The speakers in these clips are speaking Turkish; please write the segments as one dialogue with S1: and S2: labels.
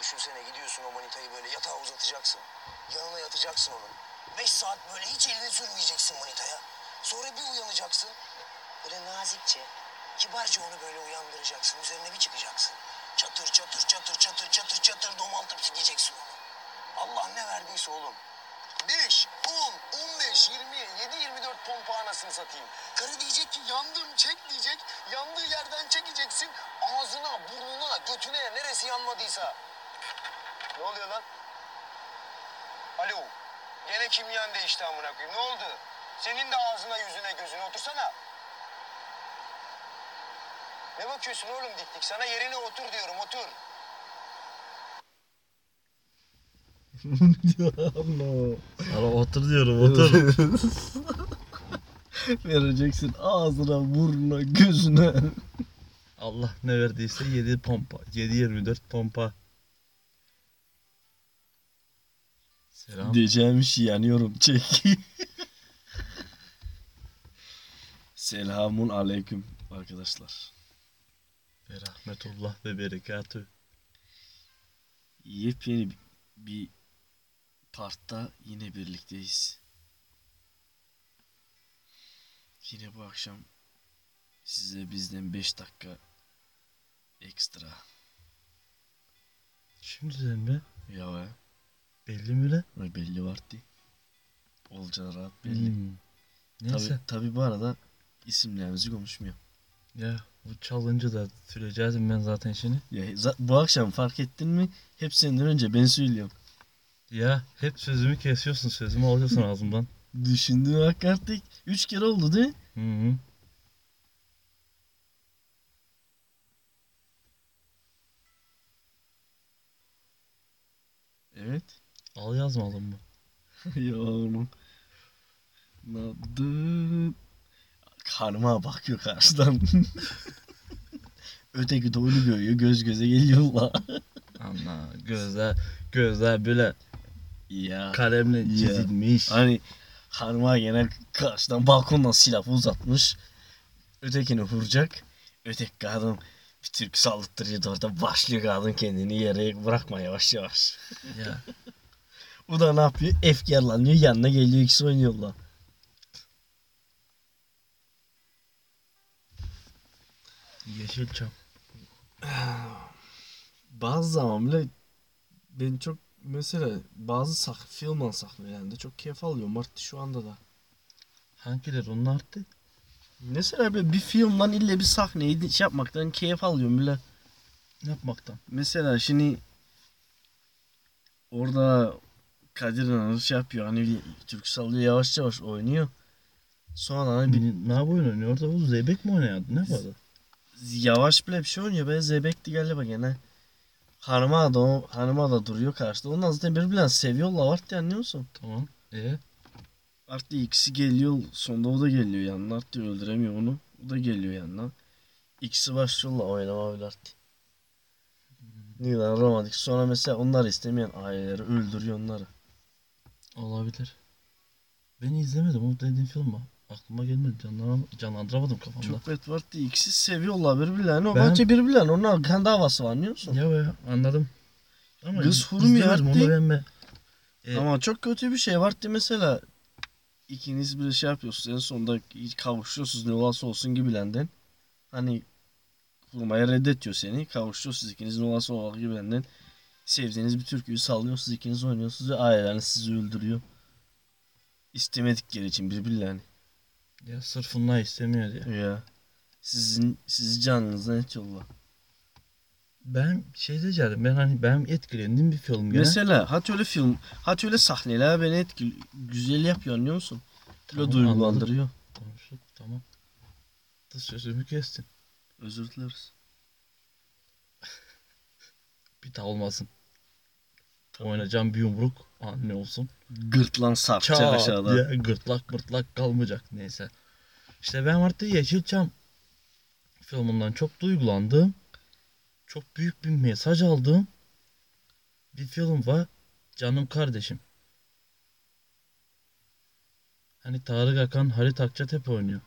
S1: düşünsene gidiyorsun o manitayı böyle yatağa uzatacaksın. Yanına yatacaksın onun. Beş saat böyle hiç elini sürmeyeceksin manitaya. Sonra bir uyanacaksın. Böyle nazikçe, kibarca onu böyle uyandıracaksın. Üzerine bir çıkacaksın. Çatır çatır çatır çatır çatır çatır domaltıp sikeceksin onu. Allah ne verdiyse oğlum. 5, 10, 15, 20, 7, 24 pompa anasını satayım. Karı diyecek ki yandım çek diyecek. Yandığı yerden çekeceksin. Ağzına, burnuna, götüne neresi yanmadıysa. Ne oluyor lan? Alo. Gene kimyan değişti amına koyayım. Ne oldu? Senin de ağzına, yüzüne, gözüne otursana. Ne bakıyorsun oğlum dik dik? Sana yerine otur diyorum, otur.
S2: Allah.
S3: Ama otur diyorum otur.
S2: Vereceksin ağzına, burnuna, gözüne.
S3: Allah ne verdiyse 7 pompa. 7-24 pompa. Selam.
S2: Diyeceğim şey yanıyorum çek. Selamun aleyküm arkadaşlar.
S3: Ve rahmetullah ve berekatü.
S2: Yepyeni bi- bir partta yine birlikteyiz. Yine bu akşam size bizden 5 dakika ekstra.
S3: Şimdiden mi?
S2: Ya be,
S3: Belli mi lan?
S2: böyle belli var diye. Olacağı rahat belli.
S3: Hmm. Neyse.
S2: Tabi, tabi bu arada isimlerimizi konuşmuyor.
S3: Ya bu çalınca da süreceğim ben zaten şimdi.
S2: Ya, za- bu akşam fark ettin mi? Hepsinden önce ben söylüyorum.
S3: Ya hep sözümü kesiyorsun sözümü alıyorsun ağzımdan.
S2: Düşündüğün hak artık. Üç kere oldu değil mi?
S3: Hı hı.
S2: Evet.
S3: Al yazmadım mı?
S2: ya oğlum. Ne yaptın? Karma bakıyor karşıdan. Öteki de onu görüyor. Göz göze geliyorlar.
S3: Ana gözler gözler böyle
S2: ya.
S3: kalemle
S2: Ya.
S3: çizilmiş.
S2: Hani karma gene karşıdan balkondan silahı uzatmış. Ötekini vuracak. Öteki kadın bir türkü saldırıyor da orada başlıyor kadın kendini yere bırakma yavaş yavaş.
S3: Ya
S2: O da ne yapıyor? Efkarlanıyor yanına geliyor ikisi oynuyorlar.
S3: Yeşilçam.
S2: Bazı zaman bile ben çok mesela bazı sak, filmden sahnelerinde çok keyif alıyorum artık şu anda da.
S3: Hangileri onlardı?
S2: Mesela böyle bir filmden ille bir sahneyi şey yapmaktan keyif alıyorum bile.
S3: Ne yapmaktan?
S2: Mesela şimdi orada Kadir İnanır şey yapıyor hani Türk sallıyor yavaş yavaş oynuyor. Sonra hani bir
S3: Ne yapıyor oynuyor? Orada bu zeybek mi oynuyordu? Ne vardı?
S2: yavaş bile bir şey oynuyor be Zebekti galiba gene. Hanıma da, o- hanıma da duruyor karşıda. Ondan zaten birbirlerini seviyorlar var diye anlıyor musun?
S3: Tamam. E
S2: Artı ikisi geliyor sonunda o da geliyor yanına artık öldüremiyor onu. O da geliyor yanına. İkisi başlıyorlar oynama bile artık. Neden romantik. Sonra mesela onlar istemeyen aileleri öldürüyor onları.
S3: olabilir. Ben izlemedim o dediğin film mi? Aklıma gelmedi. Canlanam canlandıramadım kafamda.
S2: Çok bet var diye ikisi seviyorlar birbirlerini. O
S3: Ben-
S2: bence birbirlerini. Onlar kendi havası var anlıyor musun?
S3: Ya be anladım. Ama
S2: Kız
S3: iz-
S2: hurum
S3: izlemedim,
S2: yarattı.
S3: Onu ben be. E,
S2: Ama çok kötü bir şey var diye mesela ikiniz bir şey yapıyorsunuz en sonunda kavuşuyorsunuz ne olursa olsun gibilenden. Hani kurmaya reddediyor seni. Kavuşuyorsunuz ikiniz ne olursa olsun gibilenden. Sevdiğiniz bir türküyü sallıyorsunuz ikiniz oynuyorsunuz ve aileleriniz sizi öldürüyor. İstemedikleri için birbirlerini.
S3: Ya sırf bunlar istemiyor diye.
S2: Ya. Sizin sizi canınızdan etiyorlar.
S3: Ben şey diyeceğim. Ben hani ben etkilendiğim bir film gene.
S2: Mesela hat öyle film, hat öyle sahneler beni etkili, güzel yapıyor anlıyor musun? Böyle
S3: Tamam,
S2: duygulandırıyor.
S3: Konuştuk tamam. Da sözümü kestin.
S2: Özür dileriz.
S3: Bir daha olmasın. Oynayacağım bir yumruk. Anne olsun.
S2: Gırtlan sarkacak
S3: Çat
S2: aşağıda.
S3: diye gırtlak mırtlak kalmayacak neyse. İşte ben artık Yeşilçam filminden çok duygulandım. Çok büyük bir mesaj aldım. Bir film var. Canım kardeşim. Hani Tarık Akan, Halit Akçatep oynuyor.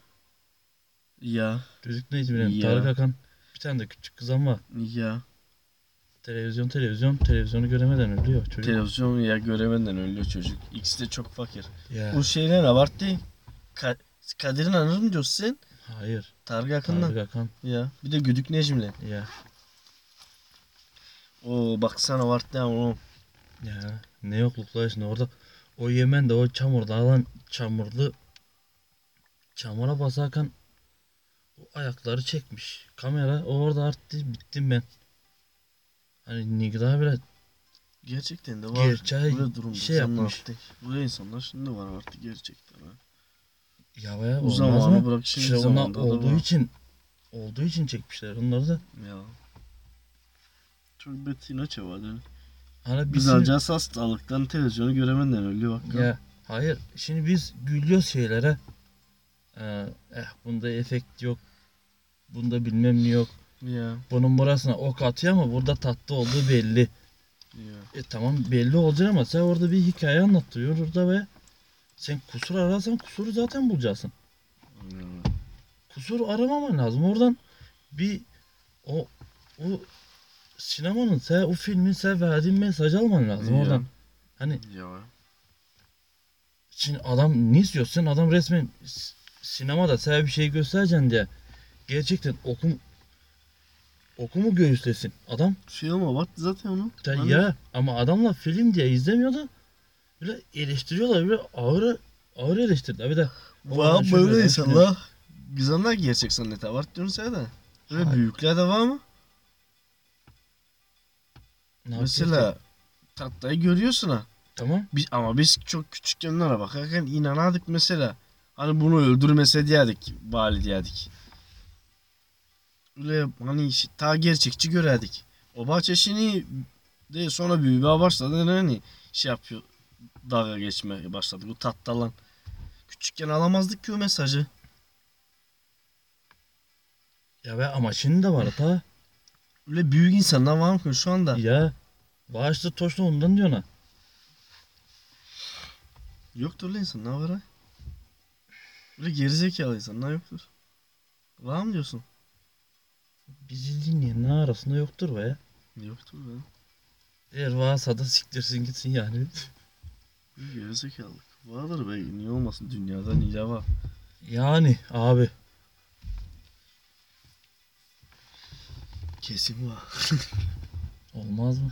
S2: Ya
S3: Çocuk neydi bilmiyorum.
S2: Ya.
S3: Tarık Akan bir tane de küçük kızan var.
S2: ya
S3: Televizyon televizyon televizyonu göremeden ölüyor çocuk.
S2: Televizyon ya göremeden ölüyor çocuk. İkisi de çok fakir.
S3: ya.
S2: Bu şeyler abarttı. Ka- Kadir'in anır mı diyorsun sen?
S3: Hayır.
S2: Tarık Akın'dan.
S3: Tarık Akan.
S2: Ya bir de Güdük Necim'le.
S3: Ya.
S2: Oo baksana abarttı ama oğlum.
S3: Ya. Ne yokluklar şimdi orada. O Yemen de o çamurda alan çamurlu çamura basarken o ayakları çekmiş. Kamera o orada arttı bittim ben. Hani ne kadar bile
S2: Gerçekten de var.
S3: Gerçeği
S2: Böyle durumda.
S3: şey
S2: insanlar
S3: yapmış.
S2: artık- Böyle insanlar şimdi var artık gerçekten. Ha.
S3: Ya bayağı
S2: Bu
S3: olmaz
S2: zamanı
S3: mı?
S2: bırak şimdi
S3: İşte onlar
S2: zamanda da
S3: olduğu
S2: var.
S3: için olduğu için çekmişler onları da.
S2: Ya. Çok betin açı var. yani.
S3: Hani
S2: Biz
S3: biz şimdi-
S2: alacağız hastalıktan televizyonu göremenden ölüyor bak. Ya.
S3: ya hayır şimdi biz gülüyoruz şeylere. Ee, eh bunda efekt yok. Bunda bilmem ne yok.
S2: Ya.
S3: Bunun burasına ok atıyor ama burada tatlı olduğu belli.
S2: ya.
S3: E tamam belli olacak ama sen orada bir hikaye anlatıyor orada ve sen kusur ararsan kusuru zaten bulacaksın.
S2: Anlıyorum.
S3: kusur aramaman lazım. Oradan bir o o sinemanın sen o filmin sen verdiğin mesajı alman lazım
S2: Ya.
S3: oradan. Hani
S2: Ya.
S3: şimdi adam ne istiyorsun? Adam resmen s- sinemada sen bir şey göstereceksin diye gerçekten okum okumu göğüslesin adam.
S2: Şey ama bak zaten onu. Hani
S3: Ya,
S2: Ben-
S3: ya ama adamla film diye izlemiyordu. Böyle eleştiriyorlar böyle ağır ağır eleştirdiler. Bir de
S2: Var
S3: Ulan şöyle
S2: böyle
S3: ben
S2: insanlar. Güzeller gerçek zannet abartıyorsun sen de. Böyle
S3: Hayır.
S2: büyükler de var mı?
S3: ne yapıyorsun?
S2: Mesela tatlıyı görüyorsun ha.
S3: tamam.
S2: Biz, ama biz çok küçükkenlere bakarken inanardık mesela. Hani bunu öldürmese diyerdik, bari diyerdik. Öyle hani işte, ta gerçekçi görerdik. O bahçeşini de sonra büyümeye başladı. Hani şey yapıyor, dalga geçmeye başladık. Bu tatlı lan. Küçükken alamazdık ki o mesajı.
S3: Ya ve ama şimdi de var ta.
S2: Öyle büyük insanlar var mı şu anda?
S3: Ya bağışta toşla ondan diyor ona.
S2: Yoktur lan insanlar var ha. Öyle gerizekalı insanlar yoktur. Var mı diyorsun?
S3: Bizi dinleyenler arasında yoktur be.
S2: Yoktur be.
S3: Eğer varsa da siktirsin gitsin yani.
S2: Gerizekalılık. Vardır be niye olmasın dünyada niye var.
S3: Yani abi.
S2: Kesin var.
S3: Olmaz mı?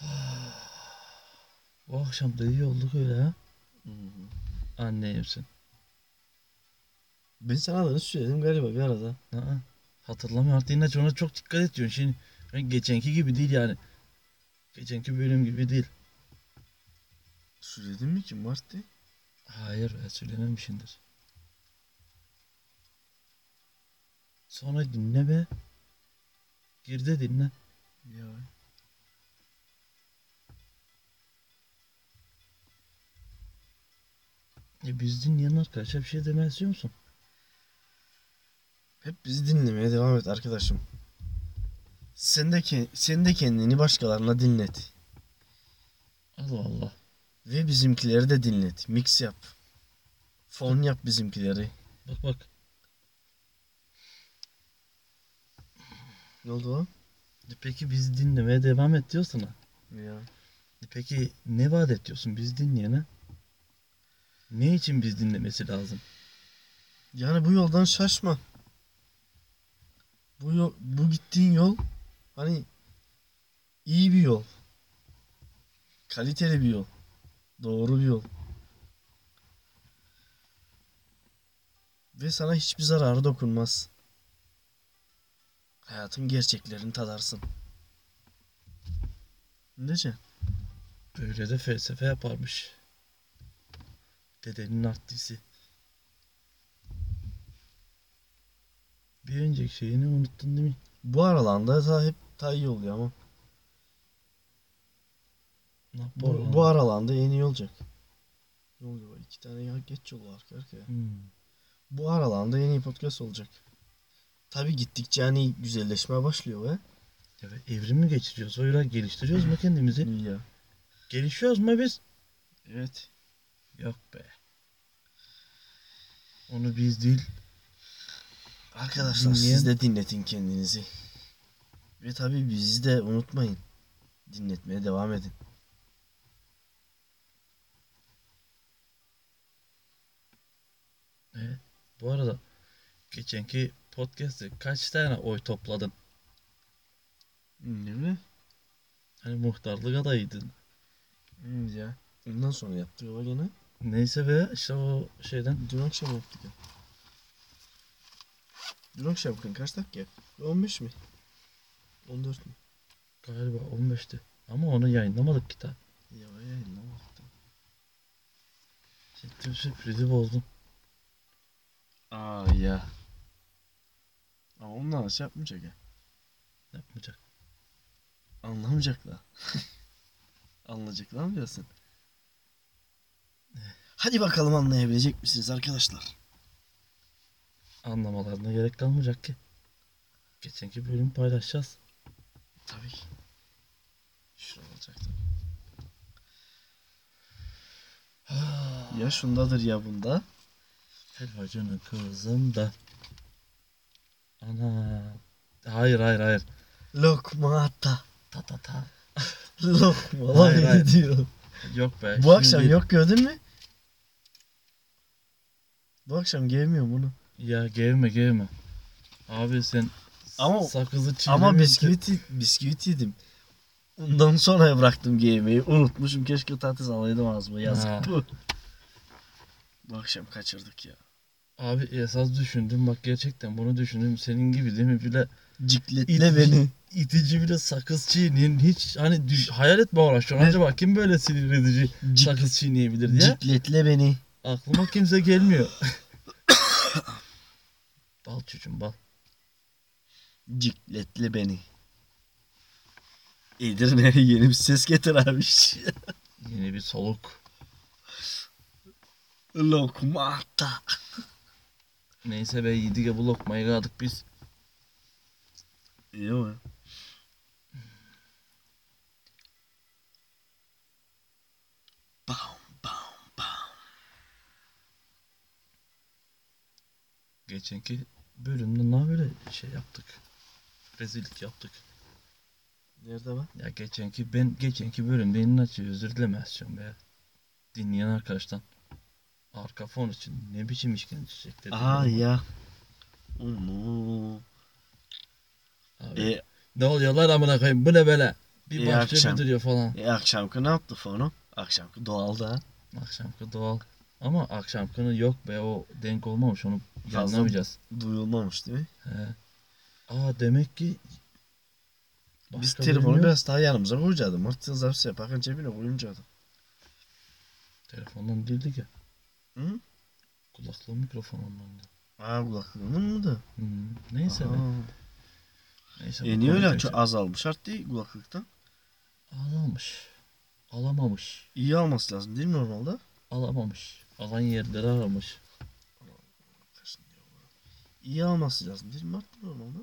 S3: Bu akşam da iyi olduk öyle ha. Anne yersin.
S2: Ben sana adını söyledim galiba bir arada.
S3: Aa, hatırlamıyor artık İnaç ona çok dikkat et diyorsun. Şimdi yani geçenki gibi değil yani. Geçenki bölüm gibi değil.
S2: Söyledim mi ki Mart'ti?
S3: Hayır ben söylememişimdir. Sonra dinle be. Gir de dinle.
S2: Ya.
S3: E biz dinleyen arkadaşa bir şey demeye istiyor musun?
S2: Hep bizi dinlemeye devam et arkadaşım. Sen de, ke- sen de kendini başkalarına dinlet.
S3: Allah Allah.
S2: Ve bizimkileri de dinlet. Mix yap. Fon yap bizimkileri.
S3: Bak bak.
S2: Ne oldu o?
S3: E peki biz dinlemeye devam et diyor sana.
S2: Ya.
S3: E peki ne vaat ediyorsun biz dinleyene? Ne için biz dinlemesi lazım?
S2: Yani bu yoldan şaşma. Bu yol, bu gittiğin yol hani iyi bir yol. Kaliteli bir yol. Doğru bir yol. Ve sana hiçbir zararı dokunmaz. Hayatın gerçeklerini tadarsın. Nece?
S3: Böyle de felsefe yaparmış. Dedenin artisi. Bir önceki şeyini unuttun değil mi?
S2: Bu aralanda ta hep ta iyi oluyor ama.
S3: Ne yap-
S2: Bu, bu aralanda en iyi olacak. Ne oluyor? İki tane ya geç yolu arka arkaya.
S3: Hmm.
S2: Bu aralanda yeni podcast olacak. Tabi gittikçe hani güzelleşmeye başlıyor ve
S3: Ya ve evrim mi geçiriyoruz? Öyle geliştiriyoruz mu kendimizi?
S2: ya.
S3: Gelişiyoruz mu biz?
S2: Evet.
S3: Yok be. Onu biz değil.
S2: Arkadaşlar
S3: Dinleyen-
S2: siz de dinletin kendinizi. Ve tabii bizi de unutmayın. Dinletmeye devam edin.
S3: Bu arada geçenki podcast'te kaç tane oy topladın?
S2: Değil mi?
S3: Hani muhtarlık adayıydın.
S2: ya. Ondan sonra yaptık baba gene.
S3: Neyse be işte o şeyden
S2: Dün akşam yaptık ya. Dün akşam bakın kaç dakika? 15 mi? 14 mü?
S3: galiba 15'ti. Ama onu yayınlamadık ki daha.
S2: Ya yayınlamadık.
S3: Siktir sürprizi bozdum.
S2: Aa ya. Ama onlar nasıl yapmayacak ya?
S3: Yapmayacak.
S2: Anlamayacaklar. Anlayacaklar mı diyorsun? Hadi bakalım anlayabilecek misiniz arkadaşlar?
S3: Anlamalarına gerek kalmayacak ki. Geçenki bölümü paylaşacağız.
S2: Tabii ki. Şurada olacak Ya şundadır ya bunda.
S3: Helvacının kızım da. Ana. Hayır hayır hayır.
S2: Lokma ata.
S3: Ta ta ta.
S2: Lokma.
S3: Hayır, hayır.
S2: diyor.
S3: Yok be.
S2: Bu akşam
S3: şimdi-
S2: yok gördün mü? Bu akşam gelmiyor bunu.
S3: Ya gevme gevme. Abi sen
S2: Ama-
S3: sakızı çiğnemiyorsun.
S2: Ama bisküvit, bisküvit yedim. Ondan sonra bıraktım giymeyi. Unutmuşum. Keşke patates alaydım ağzıma.
S3: Ha.
S2: Yazık bu. Bu akşam kaçırdık ya.
S3: Abi esas düşündüm bak gerçekten bunu düşündüm. Senin gibi değil mi bile
S2: Cikletle beni.
S3: itici bile sakız çiğneyen hiç hani düş, hayal etme uğraşıyorsun.
S2: Ne?
S3: Acaba kim böyle sinir edici
S2: Cik-
S3: sakız çiğneyebilir diye.
S2: Cikletle beni.
S3: Aklıma kimse gelmiyor. bal çocuğum bal.
S2: Cikletle beni. Edirne'ye yeni bir ses getir abi.
S3: Yeni bir soluk.
S2: Lokma ata.
S3: Neyse be yedik ya bu lokmayı kaldık biz.
S2: İyi mi? Bam bam bam.
S3: Geçenki bölümde ne böyle şey yaptık. Rezillik yaptık.
S2: Nerede bak?
S3: Ya geçenki ben geçenki bölümde yayını açıyor özür dilemezsin be. Dinleyen arkadaştan. Arka fon için ne biçim işkence çekti.
S2: Aa ya. Onu.
S3: Abi,
S2: E,
S3: ne oluyor lan amına koyayım bu ne böyle. Bir
S2: İyi
S3: bahçe
S2: akşam.
S3: müdürüyor falan.
S2: e akşamki ne yaptı fonu? Akşamki doğalda. ha.
S3: Akşamkı doğal. Ama akşamkını yok be o denk olmamış onu
S2: Fazla.
S3: yayınlamayacağız.
S2: Duyulmamış değil mi?
S3: He. Aa demek ki
S2: Biz
S3: Başka bölüm
S2: telefonu
S3: yok.
S2: biraz daha yanımıza koyacaktım. Mırtınız hapsi yaparken cebine koyuncaktım.
S3: telefondan değildi ki.
S2: Hı?
S3: Kulaklığı mikrofon ondan. da.
S2: Aa kulaklığının mı da?
S3: Hı, Neyse be.
S2: Aa.
S3: Neyse, bu
S2: E niye öyle
S3: konuyu
S2: çok azalmış artık kulaklıktan?
S3: Alamamış. Alamamış.
S2: İyi alması lazım değil mi normalde?
S3: Alamamış. Alan yerleri aramış.
S2: İyi alması lazım değil mi artık normalde?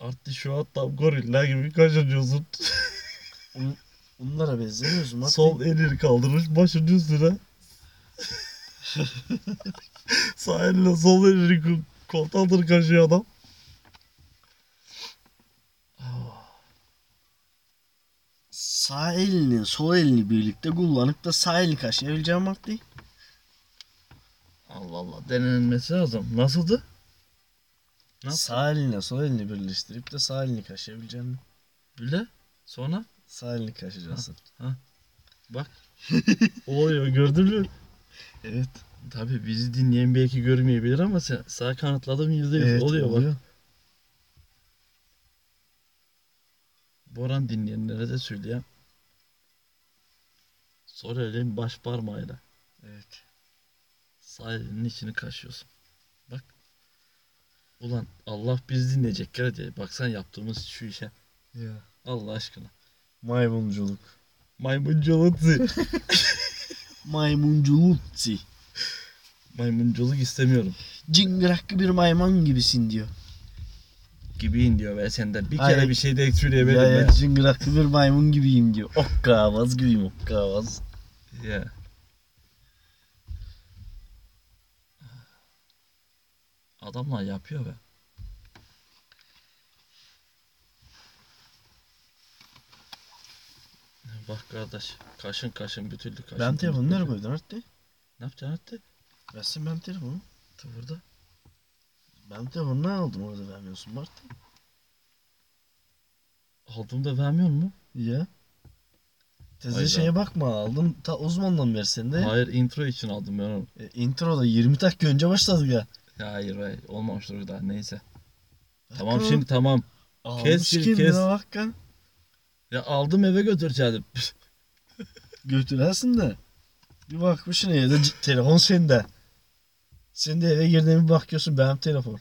S3: Artı şu an tam goriller gibi kaşınıyorsun.
S2: On, onlara benzemiyoruz mu?
S3: Sol elini kaldırmış başının üstüne. Sağ elle sol elini ko- koltuğa kaşıyor adam. Ah,
S2: Sağ elini, sol elini birlikte kullanıp da sağ elini kaşıyabileceğim vakti.
S3: Allah Allah denenmesi lazım. Nasıldı? Nasıl?
S2: Sağ elinle sol elini birleştirip de sağ elini kaşıyabileceksin.
S3: Bile. Sonra
S2: Sağ elini kaşıyacaksın.
S3: oluyor gördün mü?
S2: Evet.
S3: Tabii bizi dinleyen belki görmeyebilir ama sen, sağ kanatladım yüzde yüz
S2: Evet,
S3: oluyor bak.
S2: oluyor.
S3: Boran dinleyenlere de söyleyeyim. Sol elin baş parmağıyla
S2: Evet.
S3: sağ elinin içini kaşıyorsun. Bak. Ulan Allah biz dinleyecek ya diye. Baksan yaptığımız şu işe.
S2: Ya.
S3: Allah aşkına.
S2: Maymunculuk.
S3: Maymunculuk.
S2: Maymunculuk.
S3: Maymunculuk istemiyorum.
S2: Cingraklı bir maymun gibisin diyor.
S3: Gibiyim diyor ve senden bir
S2: Hayır.
S3: kere bir şey de eksiliyor
S2: Ya,
S3: benim
S2: ya
S3: ya.
S2: cingraklı bir maymun gibiyim diyor. Okkavaz gibiyim okkavaz.
S3: Ya. Adamlar yapıyor be. Bak kardeş. Kaşın kaşın bütüldü kaşın.
S2: Ben telefonu nereye koydun Artti?
S3: Ne yapacaksın hatta?
S2: Versin ben telefonu.
S3: Ta burada.
S2: Ben telefonu ne aldım orada vermiyorsun Artti?
S3: Aldığımda vermiyor mu?
S2: Ya. Teze
S3: Hayda.
S2: şeye bakma aldın ta uzmandan versen de.
S3: Hayır intro için aldım ben onu.
S2: E, introda 20 dakika önce başladık ya.
S3: Ya Hayır hayır olmamıştır bir daha neyse. Tamam
S2: Hakkı,
S3: şimdi tamam.
S2: almış
S3: kes şimdi,
S2: kendine
S3: kes.
S2: Hakkı.
S3: Ya aldım eve götüreceğim.
S2: Götürersin de. Bir bakmışsın ya da c- telefon sende. Sen de eve girdiğinde bir bakıyorsun benim telefon.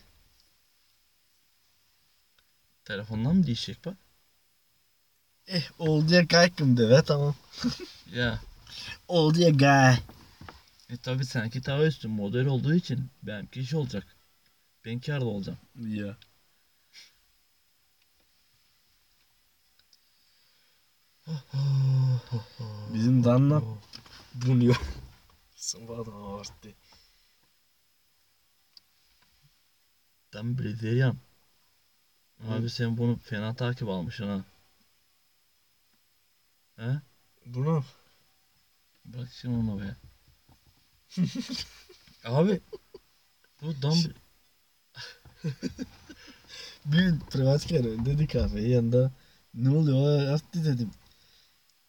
S3: Telefondan mı değişecek bak?
S2: Eh oldu ya kaykım de ve tamam.
S3: Ya.
S2: Oldu ya gay.
S3: E tabi seninki daha üstün model olduğu için benimki iş olacak. Ben kârda olacağım.
S2: Ya. Bizim Danla bunuyor. Sabah da abarttı.
S3: Ben Brezilya'm. Abi sen bunu fena takip almışsın ha. He?
S2: Bunu
S3: Bırak şimdi onu be. Abi. Bu dam...
S2: bir privat kere dedi kahveyi yanında ne oluyor yaptı dedim.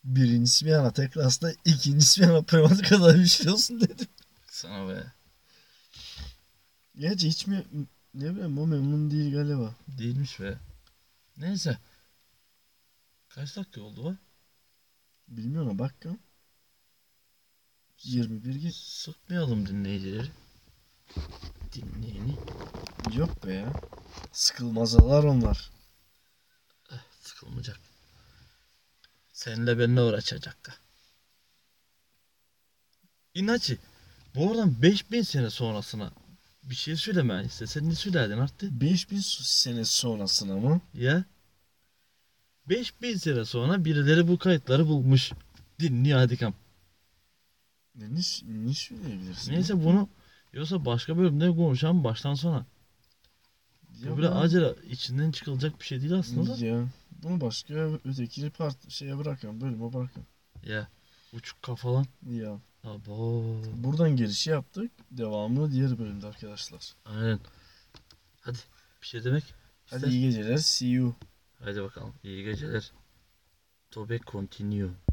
S2: Birincisi bir ana tek rastla, ikincisi bir ana privat kadar işliyorsun dedim.
S3: Sana be.
S2: Gerçi hiç mi ne bileyim o memnun değil galiba.
S3: Değilmiş be. Neyse. Kaç dakika oldu be?
S2: Bilmiyorum bak ya. 21 geç.
S3: Sıkmayalım dinleyicileri. Dinleyeni.
S2: Yok be ya. Sıkılmazalar onlar.
S3: Sıkılmayacak. Seninle benimle uğraşacak da. İnaçı. Bu oradan 5000 sene sonrasına bir şey söylemen istesen ne söylerdin artık?
S2: 5000 sene sonrasına mı?
S3: Ya. 5000 sene sonra birileri bu kayıtları bulmuş. Dinliyor hadi kam.
S2: Ne, ne, ne söyleyebilirsin?
S3: Neyse bunu yoksa başka bölümde konuşalım baştan sona.
S2: Ya
S3: Bu böyle
S2: ben-
S3: acele içinden çıkılacak bir şey değil aslında da.
S2: Ya bunu başka ötekini part şeye bırakıyorum, bölüme bırakıyorum.
S3: Ya. Uçuk kafalan.
S2: Ya
S3: Abo.
S2: buradan girişi yaptık. Devamı diğer bölümde arkadaşlar.
S3: Aynen. Hadi bir şey demek.
S2: Hadi
S3: ister-
S2: iyi geceler. See you.
S3: Hadi bakalım. İyi geceler. Tobe continue.